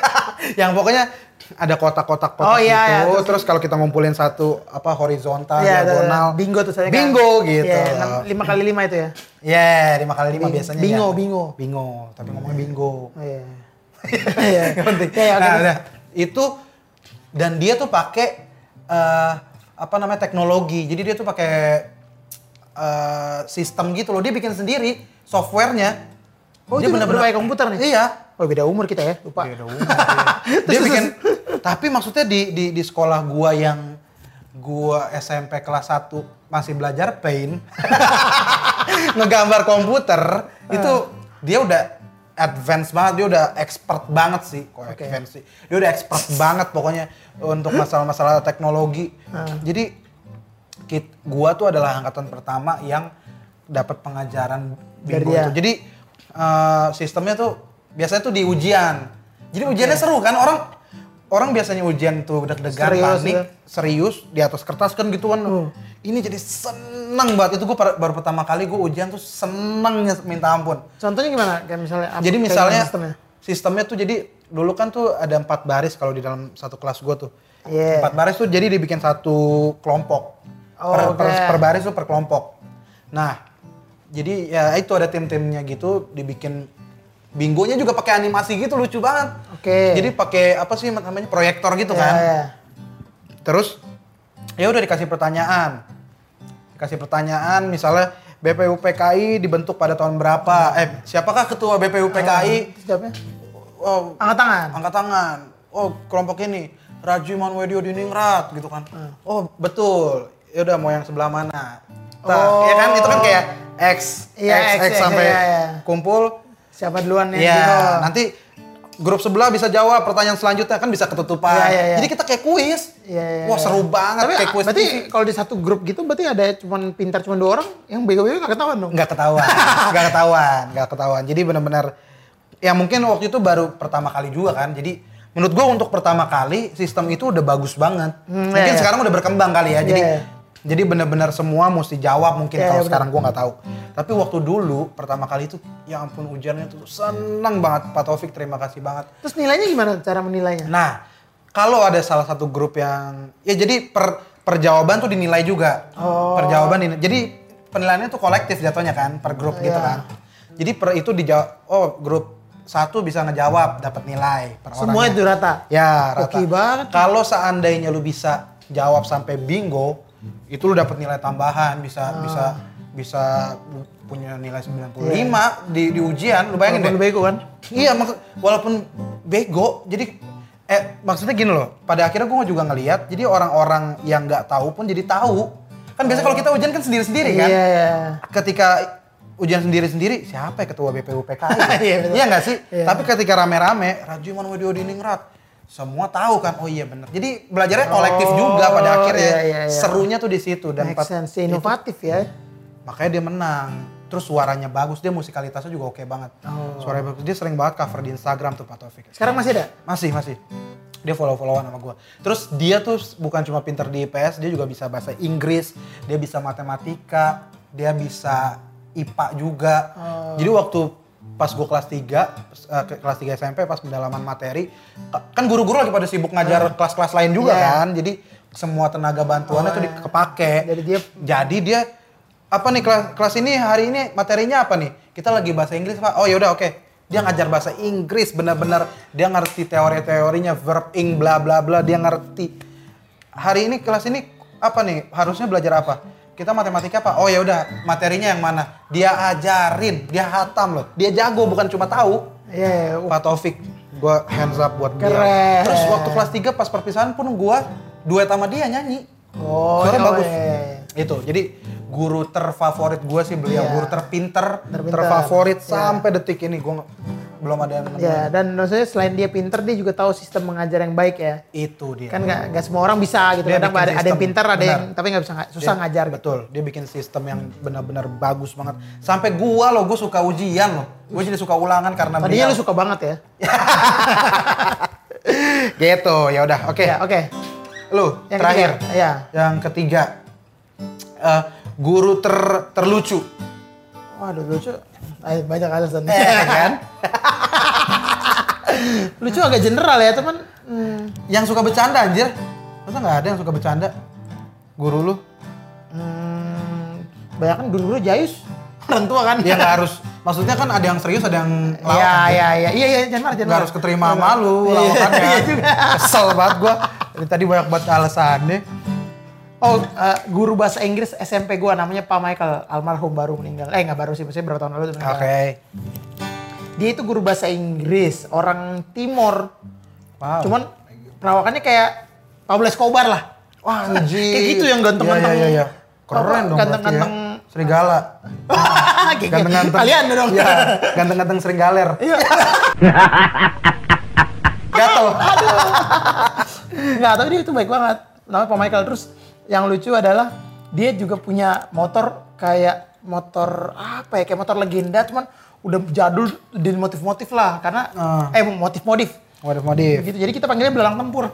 Speaker 1: yang pokoknya ada kotak-kotak kotak
Speaker 2: Oh, iya, iya.
Speaker 1: gitu.
Speaker 2: Terus-
Speaker 1: terus, kalau kita ngumpulin satu apa horizontal
Speaker 2: Iya, ada-
Speaker 1: diagonal
Speaker 2: Bingo tuh saya. kan.
Speaker 1: bingo gitu
Speaker 2: Iya, enam- lima kali lima itu ya.
Speaker 1: Ya, lima kali lima biasanya.
Speaker 2: bingo,
Speaker 1: ya.
Speaker 2: bingo.
Speaker 1: bingo. Tapi ngomongnya bingo.
Speaker 2: Oh, iya.
Speaker 1: Iya, nggak penting.
Speaker 2: Iya, iya, oke.
Speaker 1: Nah, udah. itu dan dia tuh pakai eh, apa namanya teknologi. Jadi dia tuh pakai eh, sistem gitu loh. Dia bikin sendiri softwarenya.
Speaker 2: Oh, itu bener-bener pakai komputer nih?
Speaker 1: Iya.
Speaker 2: Oh beda umur kita ya, lupa.
Speaker 1: Dia ada umur, iya. dia. Dia bikin tapi maksudnya di di di sekolah gua yang gua SMP kelas 1 masih belajar paint ngegambar komputer itu dia udah advance banget dia udah expert banget sih kok
Speaker 2: Oke.
Speaker 1: advance sih dia udah expert banget pokoknya untuk masalah-masalah teknologi jadi kit gua tuh adalah angkatan pertama yang dapat pengajaran
Speaker 2: Dari
Speaker 1: bingo
Speaker 2: dia.
Speaker 1: itu jadi eh, sistemnya tuh biasanya tuh di ujian jadi ujiannya seru kan orang orang biasanya ujian tuh deg-degan
Speaker 2: Serius,
Speaker 1: panik
Speaker 2: ya. Hmm.
Speaker 1: serius di atas kertas kan gitu kan ini jadi seneng banget itu gue baru pertama kali gue ujian tuh senengnya minta ampun
Speaker 2: Contohnya gimana? Kayak misalnya apa-
Speaker 1: jadi
Speaker 2: kayak
Speaker 1: misalnya
Speaker 2: gimana sistemnya?
Speaker 1: sistemnya tuh jadi dulu kan tuh ada empat baris kalau di dalam satu kelas gue tuh
Speaker 2: Iya.
Speaker 1: empat baris tuh jadi dibikin satu kelompok
Speaker 2: Oh,
Speaker 1: per, per,
Speaker 2: oke.
Speaker 1: per baris tuh per kelompok nah jadi ya itu ada tim-timnya gitu dibikin binggonya juga pakai animasi gitu lucu banget
Speaker 2: Oke.
Speaker 1: jadi pakai apa sih namanya proyektor gitu
Speaker 2: Iya,
Speaker 1: kan
Speaker 2: iya.
Speaker 1: Terus ya udah dikasih pertanyaan. Dikasih pertanyaan misalnya BPUPKI dibentuk pada tahun berapa? Eh, siapakah ketua BPUPKI?
Speaker 2: Ah, Terus jawabnya?
Speaker 1: Oh,
Speaker 2: Angkat tangan.
Speaker 1: angkat tangan. Oh, kelompok ini Raju Manwedio Diningrat gitu kan.
Speaker 2: Hmm.
Speaker 1: Oh, betul. Ya udah mau yang sebelah mana? Nah, ya kan itu kan kayak X,
Speaker 2: Oh. Iya,
Speaker 1: X,
Speaker 2: X,
Speaker 1: X, sampai
Speaker 2: iya, iya.
Speaker 1: kumpul.
Speaker 2: Siapa duluan yang
Speaker 1: Iya,
Speaker 2: bingo?
Speaker 1: nanti grup sebelah bisa jawab pertanyaan selanjutnya kan bisa ketutupan.
Speaker 2: Iya, iya, iya.
Speaker 1: Jadi kita kayak kuis.
Speaker 2: Iya, iya,
Speaker 1: Wah,
Speaker 2: iya.
Speaker 1: seru banget
Speaker 2: Tapi
Speaker 1: kayak kuis. Iya.
Speaker 2: berarti
Speaker 1: TV.
Speaker 2: kalau di satu grup gitu berarti ada cuman pintar cuma dua orang, yang bego-bego gak ketahuan dong.
Speaker 1: nggak ketahuan, nggak ketahuan, nggak ketahuan. Jadi benar-benar ya mungkin waktu itu baru pertama kali juga kan. Jadi menurut gua untuk pertama kali sistem itu udah bagus banget.
Speaker 2: Hmm,
Speaker 1: mungkin
Speaker 2: iya, iya.
Speaker 1: sekarang udah berkembang kali ya. Jadi
Speaker 2: Iya, iya.
Speaker 1: jadi benar-benar semua mesti jawab mungkin
Speaker 2: Iya, iya,
Speaker 1: kalau
Speaker 2: benar.
Speaker 1: sekarang gua nggak tahu. Tapi waktu dulu pertama kali itu ya ampun ujarnya tuh seneng banget Pak Taufik terima kasih banget.
Speaker 2: Terus nilainya gimana cara menilainya?
Speaker 1: Nah, kalau ada salah satu grup yang ya jadi per perjawaban tuh dinilai juga.
Speaker 2: Oh.
Speaker 1: Perjawaban dinilai. Jadi penilaiannya tuh kolektif jatuhnya kan per grup gitu
Speaker 2: Iya.
Speaker 1: kan. Jadi per itu dijawab oh grup satu bisa ngejawab dapat nilai per orangnya.
Speaker 2: Semua itu rata.
Speaker 1: Ya, rata.
Speaker 2: Oke banget.
Speaker 1: Kalau seandainya lu bisa jawab sampai bingo, itu lu dapat nilai tambahan,
Speaker 2: Ah.
Speaker 1: bisa bisa bisa bu- punya nilai 95 di di ujian, lu bayangin
Speaker 2: Iya. Walaupun
Speaker 1: deh.
Speaker 2: bego kan?
Speaker 1: Iya, maksud walaupun bego, jadi eh maksudnya gini loh. Pada akhirnya gue juga ngelihat, jadi orang-orang yang nggak tahu pun jadi tahu. Kan biasa kalau kita ujian kan sendiri-sendiri kan.
Speaker 2: Iya, iya.
Speaker 1: Ketika ujian sendiri-sendiri, siapa ya ketua BPUPKI?
Speaker 2: Iya, betul.
Speaker 1: iya nggak sih?
Speaker 2: Iya.
Speaker 1: Tapi ketika rame-rame, Rajiman Wedio Diningrat, semua tahu kan, oh iya bener. Jadi belajarnya kolektif
Speaker 2: Oh,
Speaker 1: juga pada akhirnya.
Speaker 2: iya, iya, iya.
Speaker 1: Serunya tuh di situ dan
Speaker 2: Make
Speaker 1: empat-
Speaker 2: sense, inovatif ya.
Speaker 1: makanya dia menang terus suaranya bagus dia musikalitasnya juga oke banget
Speaker 2: Oh.
Speaker 1: suaranya bagus dia sering banget cover di Instagram tuh Pak Taufik
Speaker 2: Sekarang masih ada?
Speaker 1: masih masih dia follow followan sama gue terus dia tuh bukan cuma pinter di IPS dia juga bisa bahasa Inggris dia bisa matematika dia bisa IPA juga
Speaker 2: Oh.
Speaker 1: jadi waktu pas gue kelas 3 kelas 3 SMP pas pendalaman materi kan guru-guru lagi pada sibuk ngajar kelas-kelas lain juga
Speaker 2: Nah. Iya. Oh,
Speaker 1: kan jadi semua tenaga bantuannya tuh di- kepake
Speaker 2: Jadi dia-
Speaker 1: jadi dia apa nih kelas kelas ini hari ini materinya apa nih? Kita lagi bahasa Inggris pak. Oh yaudah oke. Dia ngajar bahasa Inggris benar-benar dia ngerti teori-teorinya verb ing bla bla bla dia ngerti. Hari ini kelas ini apa nih? Harusnya belajar apa? Kita matematika pak. Oh yaudah materinya yang mana? Dia ajarin, dia hatam loh. Dia jago bukan cuma tahu.
Speaker 2: Iya, iya. Wah,
Speaker 1: Pak Taufik, gue hands up buat dia.
Speaker 2: Keren.
Speaker 1: Terus waktu kelas 3 pas perpisahan pun gue duet sama dia nyanyi.
Speaker 2: Oh,
Speaker 1: Suara
Speaker 2: iya,
Speaker 1: bagus.
Speaker 2: iya, iya.
Speaker 1: Itu, jadi guru terfavorit gue sih beliau,
Speaker 2: Iya.
Speaker 1: guru terpinter,
Speaker 2: Terpinter.
Speaker 1: terfavorit
Speaker 2: Iya.
Speaker 1: sampai detik ini gue belum ada yang nemuin.
Speaker 2: Ya, dan maksudnya selain dia pinter, dia juga tahu sistem mengajar yang baik ya.
Speaker 1: Itu dia.
Speaker 2: Kan nggak nggak semua orang bisa gitu.
Speaker 1: Dia
Speaker 2: Kadang
Speaker 1: bikin
Speaker 2: ada, ada yang
Speaker 1: sistem.
Speaker 2: pinter, ada yang
Speaker 1: Benar. Iya.
Speaker 2: tapi nggak bisa nggak- susah
Speaker 1: Dia-
Speaker 2: ngajar gitu.
Speaker 1: Betul, dia bikin sistem yang benar-benar bagus banget. Sampai gua loh, gue suka ujian loh. Gue jadi suka ulangan karena
Speaker 2: Tadinya
Speaker 1: beliau.
Speaker 2: Oh, lu suka banget
Speaker 1: Iya.
Speaker 2: ya.
Speaker 1: Gitu, ya udah, oke.
Speaker 2: Ya, oke.
Speaker 1: Lu
Speaker 2: Yang
Speaker 1: terakhir.
Speaker 2: ketiga, ya.
Speaker 1: Yang ketiga. eh, guru ter- terlucu.
Speaker 2: Waduh lucu. Ay, banyak alasan.
Speaker 1: Eh, kan?
Speaker 2: lucu agak general ya teman. Hmm.
Speaker 1: Yang suka bercanda anjir. Masa nggak ada yang suka bercanda? Guru lu?
Speaker 2: Hmm, banyak kan dulu-dulu jayus orang tua kan.
Speaker 1: Ya nggak harus. Maksudnya kan ada yang serius, ada yang lawak.
Speaker 2: Iya, iya, iya, iya, iya, jangan marah, Iya. jangan
Speaker 1: Nggak harus keterima malu lawakannya. Kesel banget gua. Dari tadi banyak banget alasannya.
Speaker 2: Oh, eh, guru bahasa Inggris SMP gua namanya Pak Michael, almarhum baru meninggal. Eh, nggak baru sih, maksudnya berapa tahun lalu tuh
Speaker 1: Oke.
Speaker 2: meninggal. Dia itu guru bahasa Inggris, orang Timor.
Speaker 1: Wow.
Speaker 2: Cuman perawakannya kayak Pablo Escobar lah.
Speaker 1: wah anjir.
Speaker 2: Kayak gitu yang ganteng-ganteng.
Speaker 1: Iya, iya, iya. Keren dong
Speaker 2: Ganteng-ganteng.
Speaker 1: berarti ya. Serigala.
Speaker 2: Kayak- gitu.
Speaker 1: Ganteng-ganteng.
Speaker 2: Kalian
Speaker 1: Ah.
Speaker 2: dong.
Speaker 1: Iya. Ganteng-ganteng serigaler.
Speaker 2: Iya.
Speaker 1: Gatel.
Speaker 2: Nggak, tapi dia itu baik banget. Namanya Pak Michael. Terus yang lucu adalah dia juga punya motor kayak motor apa ya? Kayak motor legenda cuman udah jadul di motif-motif lah karena
Speaker 1: Ah.
Speaker 2: eh motif-motif
Speaker 1: Waduh, modif.
Speaker 2: gitu. Jadi kita panggilnya belalang tempur.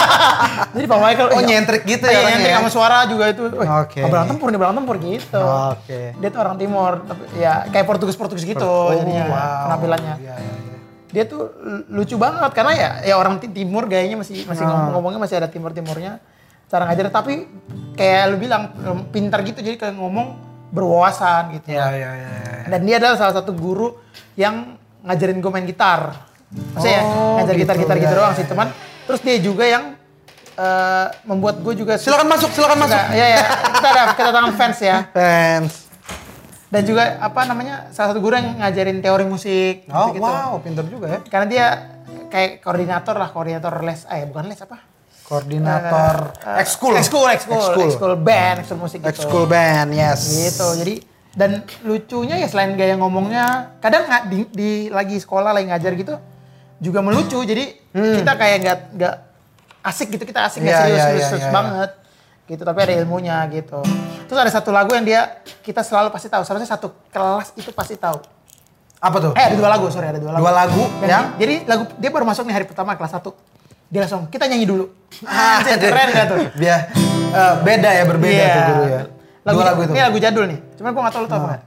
Speaker 2: Jadi Pak Michael
Speaker 1: Oh,
Speaker 2: iya.
Speaker 1: nyentrik gitu ya
Speaker 2: Iya,
Speaker 1: orangnya
Speaker 2: nyentrik
Speaker 1: ya?
Speaker 2: sama suara juga itu. Wih,
Speaker 1: Oke.
Speaker 2: oh, belalang tempur nih, belalang tempur gitu.
Speaker 1: Oke.
Speaker 2: Dia tuh orang timur, tapi ya kayak Portugis-Portugis gitu jadinya penampilannya
Speaker 1: Oh, Iya, iya, iya.
Speaker 2: dia tuh l- lucu banget karena ya ya orang ti- timur gayanya masih masih
Speaker 1: Ah.
Speaker 2: ngomong-ngomongnya masih ada timur-timurnya cara ngajar tapi kayak lu bilang em, pintar gitu jadi kayak ngomong berwawasan gitu.
Speaker 1: Iya, iya, iya. iya.
Speaker 2: Dan dia adalah salah satu guru yang ngajarin gue main gitar. Maksudnya
Speaker 1: Oh,
Speaker 2: ngajar
Speaker 1: gitu,
Speaker 2: gitar-gitar gitu
Speaker 1: ya,
Speaker 2: doang
Speaker 1: ya,
Speaker 2: sih, teman. Terus dia juga yang eh, membuat gue juga
Speaker 1: Silakan masuk, silakan masuk.
Speaker 2: Nah, ya ya, kita ada kedatangan fans ya.
Speaker 1: Fans.
Speaker 2: Dan juga apa namanya? salah satu guru yang ngajarin teori musik
Speaker 1: Oh,
Speaker 2: gitu-gitu.
Speaker 1: wow, pinter juga ya.
Speaker 2: Karena dia kayak koordinator lah, koordinator les, eh bukan les apa?
Speaker 1: Koordinator
Speaker 2: Eh,
Speaker 1: ekskul.
Speaker 2: Ekskul, ekskul,
Speaker 1: Ekskul.
Speaker 2: ekskul band, ekskul musik gitu.
Speaker 1: Ekskul band, yes.
Speaker 2: Gitu, jadi dan lucunya ya selain gaya ngomongnya, kadang nggak di, di- lagi sekolah lagi ngajar gitu juga melucu. Jadi kita kayak nggak nggak asik gitu, kita asik nggak
Speaker 1: Hmm. Iya,
Speaker 2: serius,
Speaker 1: iya,
Speaker 2: serius,
Speaker 1: iya,
Speaker 2: serius
Speaker 1: iya, iya.
Speaker 2: banget gitu. Tapi ada ilmunya gitu. Terus ada satu lagu yang dia kita selalu pasti tahu. Seharusnya satu kelas itu pasti tahu.
Speaker 1: Apa tuh?
Speaker 2: Eh ada dua lagu, sorry ada dua lagu.
Speaker 1: Dua lagu ya?
Speaker 2: Dan
Speaker 1: yang-
Speaker 2: Jadi lagu dia baru masuk nih hari pertama kelas 1. Dia langsung kita nyanyi dulu.
Speaker 1: Ah,
Speaker 2: Anjir, iya, keren gak tuh?
Speaker 1: Biar eh, beda ya, berbeda
Speaker 2: Iya.
Speaker 1: tuh guru ya.
Speaker 2: Lagu,
Speaker 1: Dua lagu itu. Nah.
Speaker 2: Ini lagu jadul nih. Cuman gua gak tau lu tau apa. nggak.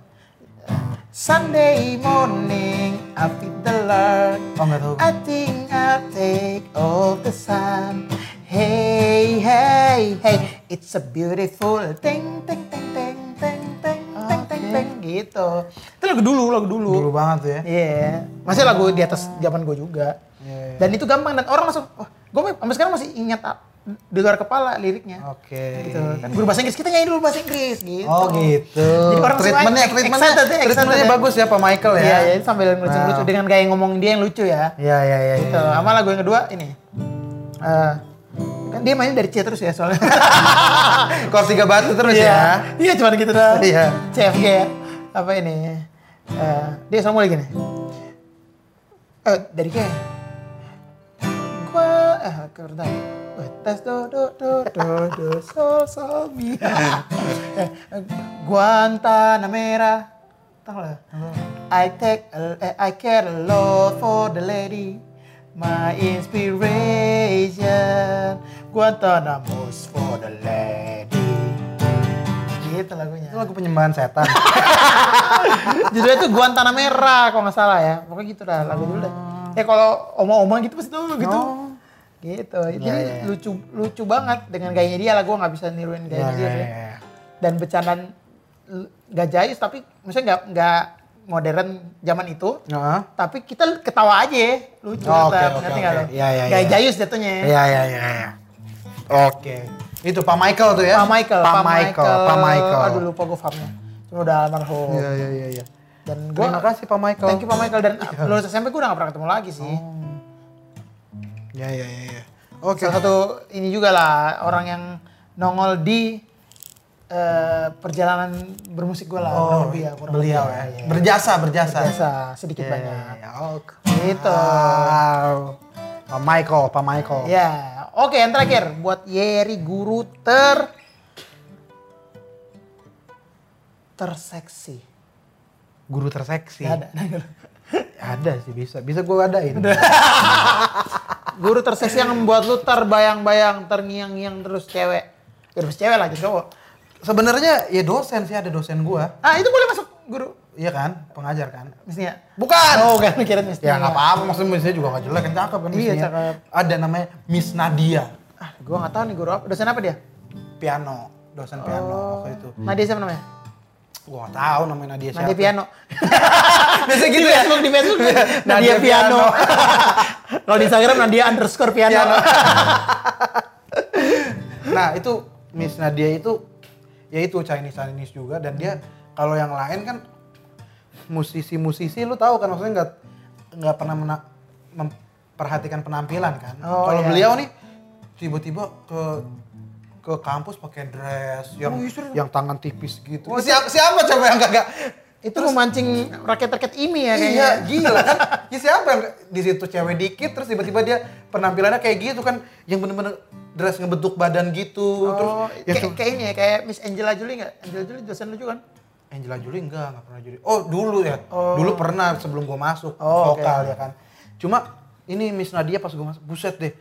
Speaker 2: Sunday morning, I feel the light.
Speaker 1: Oh, nggak tahu.
Speaker 2: I think I'll take all the sun. Hey, hey, hey, it's a beautiful thing, ting, ting, ting, ting, ting, ting, ting, ting, gitu. Itu lagu dulu, lagu dulu.
Speaker 1: Dulu banget tuh ya.
Speaker 2: Iya, masih lagu di atas zaman gue juga.
Speaker 1: Iya, iya.
Speaker 2: Dan itu gampang dan orang langsung, wah, gue sampai sekarang masih ingat ah, di luar kepala liriknya.
Speaker 1: Oke.
Speaker 2: Gitu. Kan guru bahasa Inggris kita nyanyi dulu bahasa Inggris gitu.
Speaker 1: Oh gitu.
Speaker 2: Jadi orang
Speaker 1: treatmentnya,
Speaker 2: semua
Speaker 1: treatmentnya,
Speaker 2: excited ya,
Speaker 1: treatmentnya
Speaker 2: excited ya.
Speaker 1: bagus ya Pak Michael ya. Nah.
Speaker 2: Iya, ya, sambil lucu-lucu
Speaker 1: Wow.
Speaker 2: dengan gaya ngomongin dia yang lucu ya.
Speaker 1: Iya, iya, iya.
Speaker 2: Gitu. Sama lagu yang kedua ini. Eh, kan dia mainnya dari C terus ya soalnya.
Speaker 1: Kor tiga batu terus ya.
Speaker 2: Iya, iya cuman gitu doang.
Speaker 1: Iya.
Speaker 2: CFG ya. Apa ini? Eh, dia sama lagi nih. Eh, dari kayak gua eh kertas tes do do do do do sol sol mi Eh, Guantanamera tahu lah I take a- eh, I care a lot for the lady my inspiration Guantanamo's for the lady gitu lagunya
Speaker 1: Itu lagu penyembahan setan.
Speaker 2: judulnya tuh Guantanamera kalau nggak salah ya pokoknya gitu dah lagu dulu dah ya kalau oma-oma gitu pasti tuh gitu
Speaker 1: Oh.
Speaker 2: gitu jadi
Speaker 1: Ya, ya, ya.
Speaker 2: lucu lucu banget dengan gayanya dia lah gue nggak bisa niruin
Speaker 1: Iya,
Speaker 2: gayanya dia sih. dan bercandaan l- nggak jayus tapi maksudnya nggak nggak modern zaman itu
Speaker 1: Heeh.
Speaker 2: tapi kita ketawa aja ya. lucu
Speaker 1: Oh, oke,
Speaker 2: tetap
Speaker 1: oke,
Speaker 2: ngerti
Speaker 1: oke.
Speaker 2: nggak lo
Speaker 1: Ya, ya,
Speaker 2: Nggak
Speaker 1: ya.
Speaker 2: jayus jatuhnya
Speaker 1: Iya, iya, iya. iya. Oke. Itu Pak Michael tuh ya?
Speaker 2: Pak Michael
Speaker 1: Pak Michael. Pak Michael.
Speaker 2: aduh lupa gue famnya cuma udah almarhum
Speaker 1: Iya, iya, iya. iya.
Speaker 2: dan gue
Speaker 1: Terima kasih Pak Michael. Oh.
Speaker 2: thank you Pak Michael dan lulus SMP gue udah gak pernah ketemu lagi sih
Speaker 1: Iya, iya, iya. iya. Oke.
Speaker 2: salah satu ini juga lah orang yang nongol di eh, perjalanan bermusik gue lah kurang
Speaker 1: Oh,
Speaker 2: lebih ya, kurang
Speaker 1: beliau
Speaker 2: lebih
Speaker 1: ya.
Speaker 2: iya.
Speaker 1: Berjasa, berjasa.
Speaker 2: Biasa, sedikit
Speaker 1: Iya,
Speaker 2: banyak
Speaker 1: iya, iya. Oke.
Speaker 2: Gitu.
Speaker 1: Wow. Pak Michael, Pak Michael.
Speaker 2: ya oke yang terakhir buat Yeri guru ter terseksi
Speaker 1: Guru terseksi.
Speaker 2: Nggak ada
Speaker 1: Ada sih bisa. Bisa gue adain.
Speaker 2: guru terseksi yang membuat lu terbayang-bayang terngiang-ngiang terus cewek Ya, terus cewek lah jadi cowok
Speaker 1: Sebenarnya ya dosen sih ada dosen gua.
Speaker 2: ah itu boleh masuk guru
Speaker 1: Iya kan? Pengajar kan?
Speaker 2: misalnya
Speaker 1: Bukan.
Speaker 2: oh kan kira
Speaker 1: Ya nggak apa-apa, maksudnya misalnya juga nggak jelek, kan cakep kan
Speaker 2: Iya,
Speaker 1: misinya.
Speaker 2: cakep.
Speaker 1: Ada namanya Miss Nadia,
Speaker 2: Ah, gue gak tahu nih guru apa. Dosen apa dia?
Speaker 1: piano, dosen piano
Speaker 2: Oh.
Speaker 1: waktu Oh, itu.
Speaker 2: Nadia siapa namanya?
Speaker 1: Gua nggak tahu namanya Nadia siapa.
Speaker 2: Nadia Piano.
Speaker 1: Biasa
Speaker 2: Di
Speaker 1: gitu ya.
Speaker 2: Facebook, di Facebook. Nadia
Speaker 1: Nadia
Speaker 2: Piano.
Speaker 1: Piano.
Speaker 2: Kalau di Instagram Nadia underscore Piano.
Speaker 1: Piano. Nah itu Miss Nadia itu, ya itu Chinese Chinese juga dan
Speaker 2: Hmm.
Speaker 1: dia kalau yang lain kan musisi-musisi lu tahu kan maksudnya nggak nggak pernah mena- memperhatikan penampilan kan.
Speaker 2: Oh,
Speaker 1: kalau
Speaker 2: iya.
Speaker 1: beliau nih tiba-tiba ke ke kampus pakai dress yang
Speaker 2: Oh, iya, Oh, serius.
Speaker 1: yang tangan tipis gitu. siapa siapa coba yang nggak nggak-
Speaker 2: Itu memancing rakyat-rakyat ini ya kayaknya.
Speaker 1: Iya, gila kan. Ya siapa yang di situ cewek dikit terus tiba-tiba dia penampilannya kayak gitu kan yang bener-bener dress ngebentuk badan gitu. terus
Speaker 2: Oh,
Speaker 1: ya
Speaker 2: kayak,
Speaker 1: cu-
Speaker 2: kayak ini ya, kayak Miss Angela Jolie nggak? Angela Jolie dosen lu juga kan?
Speaker 1: Angela Jolie Eh, enggak, enggak pernah jadi. Oh, dulu ya. Dulu pernah sebelum gua masuk
Speaker 2: Oh, oke.
Speaker 1: vokal ya kan. Cuma ini Miss Nadia pas gua masuk, buset deh.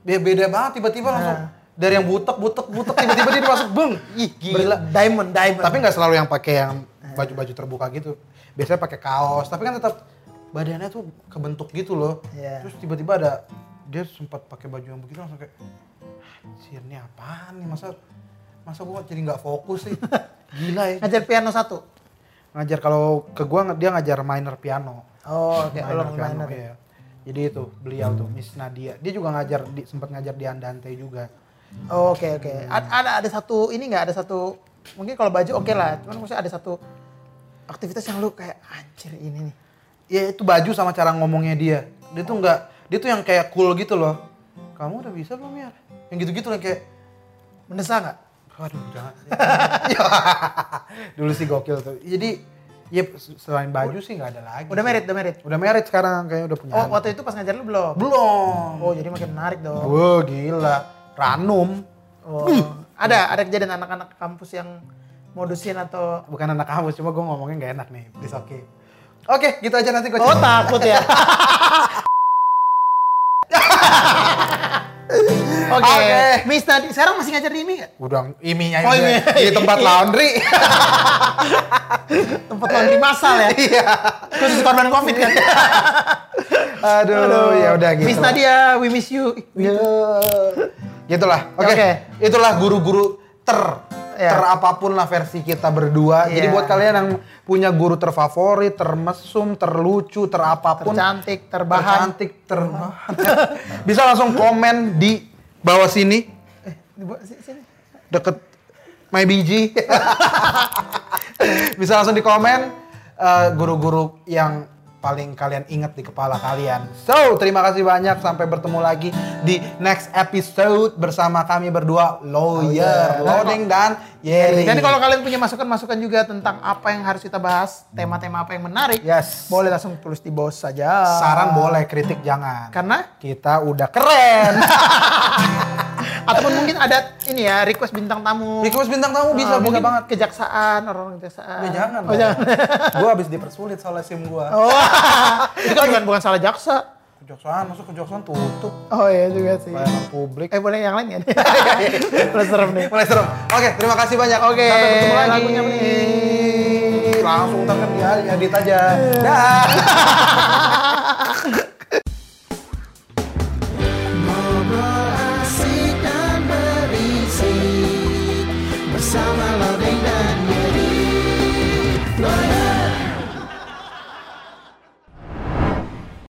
Speaker 1: Dia beda banget tiba-tiba
Speaker 2: Nah.
Speaker 1: langsung dari yang butek butek butek tiba-tiba dia masuk beng. Ih, gila.
Speaker 2: Diamond, diamond.
Speaker 1: Tapi nggak selalu yang pakai yang baju-baju terbuka gitu. Biasanya pakai kaos, tapi kan tetap badannya tuh kebentuk gitu loh.
Speaker 2: Iya.
Speaker 1: Terus tiba-tiba ada dia sempat pakai baju yang begitu langsung kayak anjir ini apaan nih masa masa gua jadi nggak fokus sih. Gila ya.
Speaker 2: ngajar piano satu.
Speaker 1: Ngajar kalau ke gua nge- dia ngajar minor piano.
Speaker 2: Oh, oke.
Speaker 1: Minor
Speaker 2: Lo
Speaker 1: piano,
Speaker 2: minor.
Speaker 1: iya. Jadi itu beliau tuh Miss Nadia. Dia juga ngajar di, sempat ngajar di Andante juga.
Speaker 2: Oh, Oke oke. Ad- Ada ada satu ini nggak ada satu mungkin kalau baju oke lah. Cuman maksudnya ada satu aktivitas yang lu kayak anjir ini nih.
Speaker 1: ya itu baju sama cara ngomongnya dia dia tuh nggak dia tuh yang kayak cool gitu loh kamu udah bisa belum ya yang gitu gitu yang kayak
Speaker 2: Mendesak nggak?
Speaker 1: aduh jangan dulu sih gokil tuh jadi ya selain baju sih nggak ada lagi
Speaker 2: Udah merit, udah merit.
Speaker 1: udah married sekarang kayaknya udah punya
Speaker 2: Oh,
Speaker 1: anak.
Speaker 2: waktu itu pas ngajar lu belum?
Speaker 1: Ya, belum
Speaker 2: Oh, jadi makin menarik dong.
Speaker 1: Wah gila ranum
Speaker 2: Oh. Ada ada kejadian anak-anak kampus yang modusin atau
Speaker 1: bukan anak kampus cuma gue ngomongnya nggak enak nih please oke oke gitu aja nanti gue
Speaker 2: Oh, takut ya. Oke.
Speaker 1: Oke.
Speaker 2: Miss Nadi, sekarang masih ngajar di ini nggak?
Speaker 1: udah iminya
Speaker 2: Oh,
Speaker 1: aja
Speaker 2: imi.
Speaker 1: di tempat laundry
Speaker 2: Tempat laundry masal ya.
Speaker 1: iya
Speaker 2: Khusus korban Covid kan.
Speaker 1: aduh, ya udah gitu
Speaker 2: Miss
Speaker 1: lah. Iya.
Speaker 2: Nadia, we miss you.
Speaker 1: Gitulah. Oke.
Speaker 2: Oke.
Speaker 1: Itulah guru-guru ter
Speaker 2: Ya.
Speaker 1: ter apapun lah versi kita berdua. Jadi
Speaker 2: Iya.
Speaker 1: buat kalian yang punya guru terfavorit, termesum, terlucu, terapapun,
Speaker 2: Tercantik, terbahan.
Speaker 1: tercantik, terbahan. Bisa langsung komen di bawah sini
Speaker 2: Dibu- si- Eh, sini.
Speaker 1: deket my biji. Bisa langsung di komen eh, guru-guru yang paling kalian ingat di kepala kalian. So, terima kasih banyak sampai bertemu lagi di next episode bersama kami berdua lawyer,
Speaker 2: Lawyer.
Speaker 1: loading dan Yeri.
Speaker 2: Dan Oh, iya. kalau kalian punya masukan-masukan juga tentang apa yang harus kita bahas, tema-tema apa yang menarik,
Speaker 1: yes,
Speaker 2: boleh Ya. langsung tulis di bawah saja.
Speaker 1: saran boleh, kritik jangan.
Speaker 2: Karena
Speaker 1: kita udah keren.
Speaker 2: ataupun mungkin ada ini ya request bintang tamu.
Speaker 1: Request bintang tamu bisa,
Speaker 2: Ah,
Speaker 1: bisa
Speaker 2: mungkin
Speaker 1: banget.
Speaker 2: kejaksaan, orang kejaksaan.
Speaker 1: Ya, jangan.
Speaker 2: Oh,
Speaker 1: dong.
Speaker 2: jangan.
Speaker 1: gua habis dipersulit soalnya sim gua.
Speaker 2: Oh, itu kan bukan, bukan salah jaksa.
Speaker 1: kejaksaan masuk kejaksaan tutup
Speaker 2: Oh iya juga sih.
Speaker 1: layanan publik
Speaker 2: Eh boleh yang lain ya? Udah serem nih.
Speaker 1: mulai serem oke terima kasih banyak
Speaker 2: Oke,
Speaker 1: sampai ketemu lagi kan
Speaker 2: lagunya
Speaker 1: langsung tangan ya edit aja dah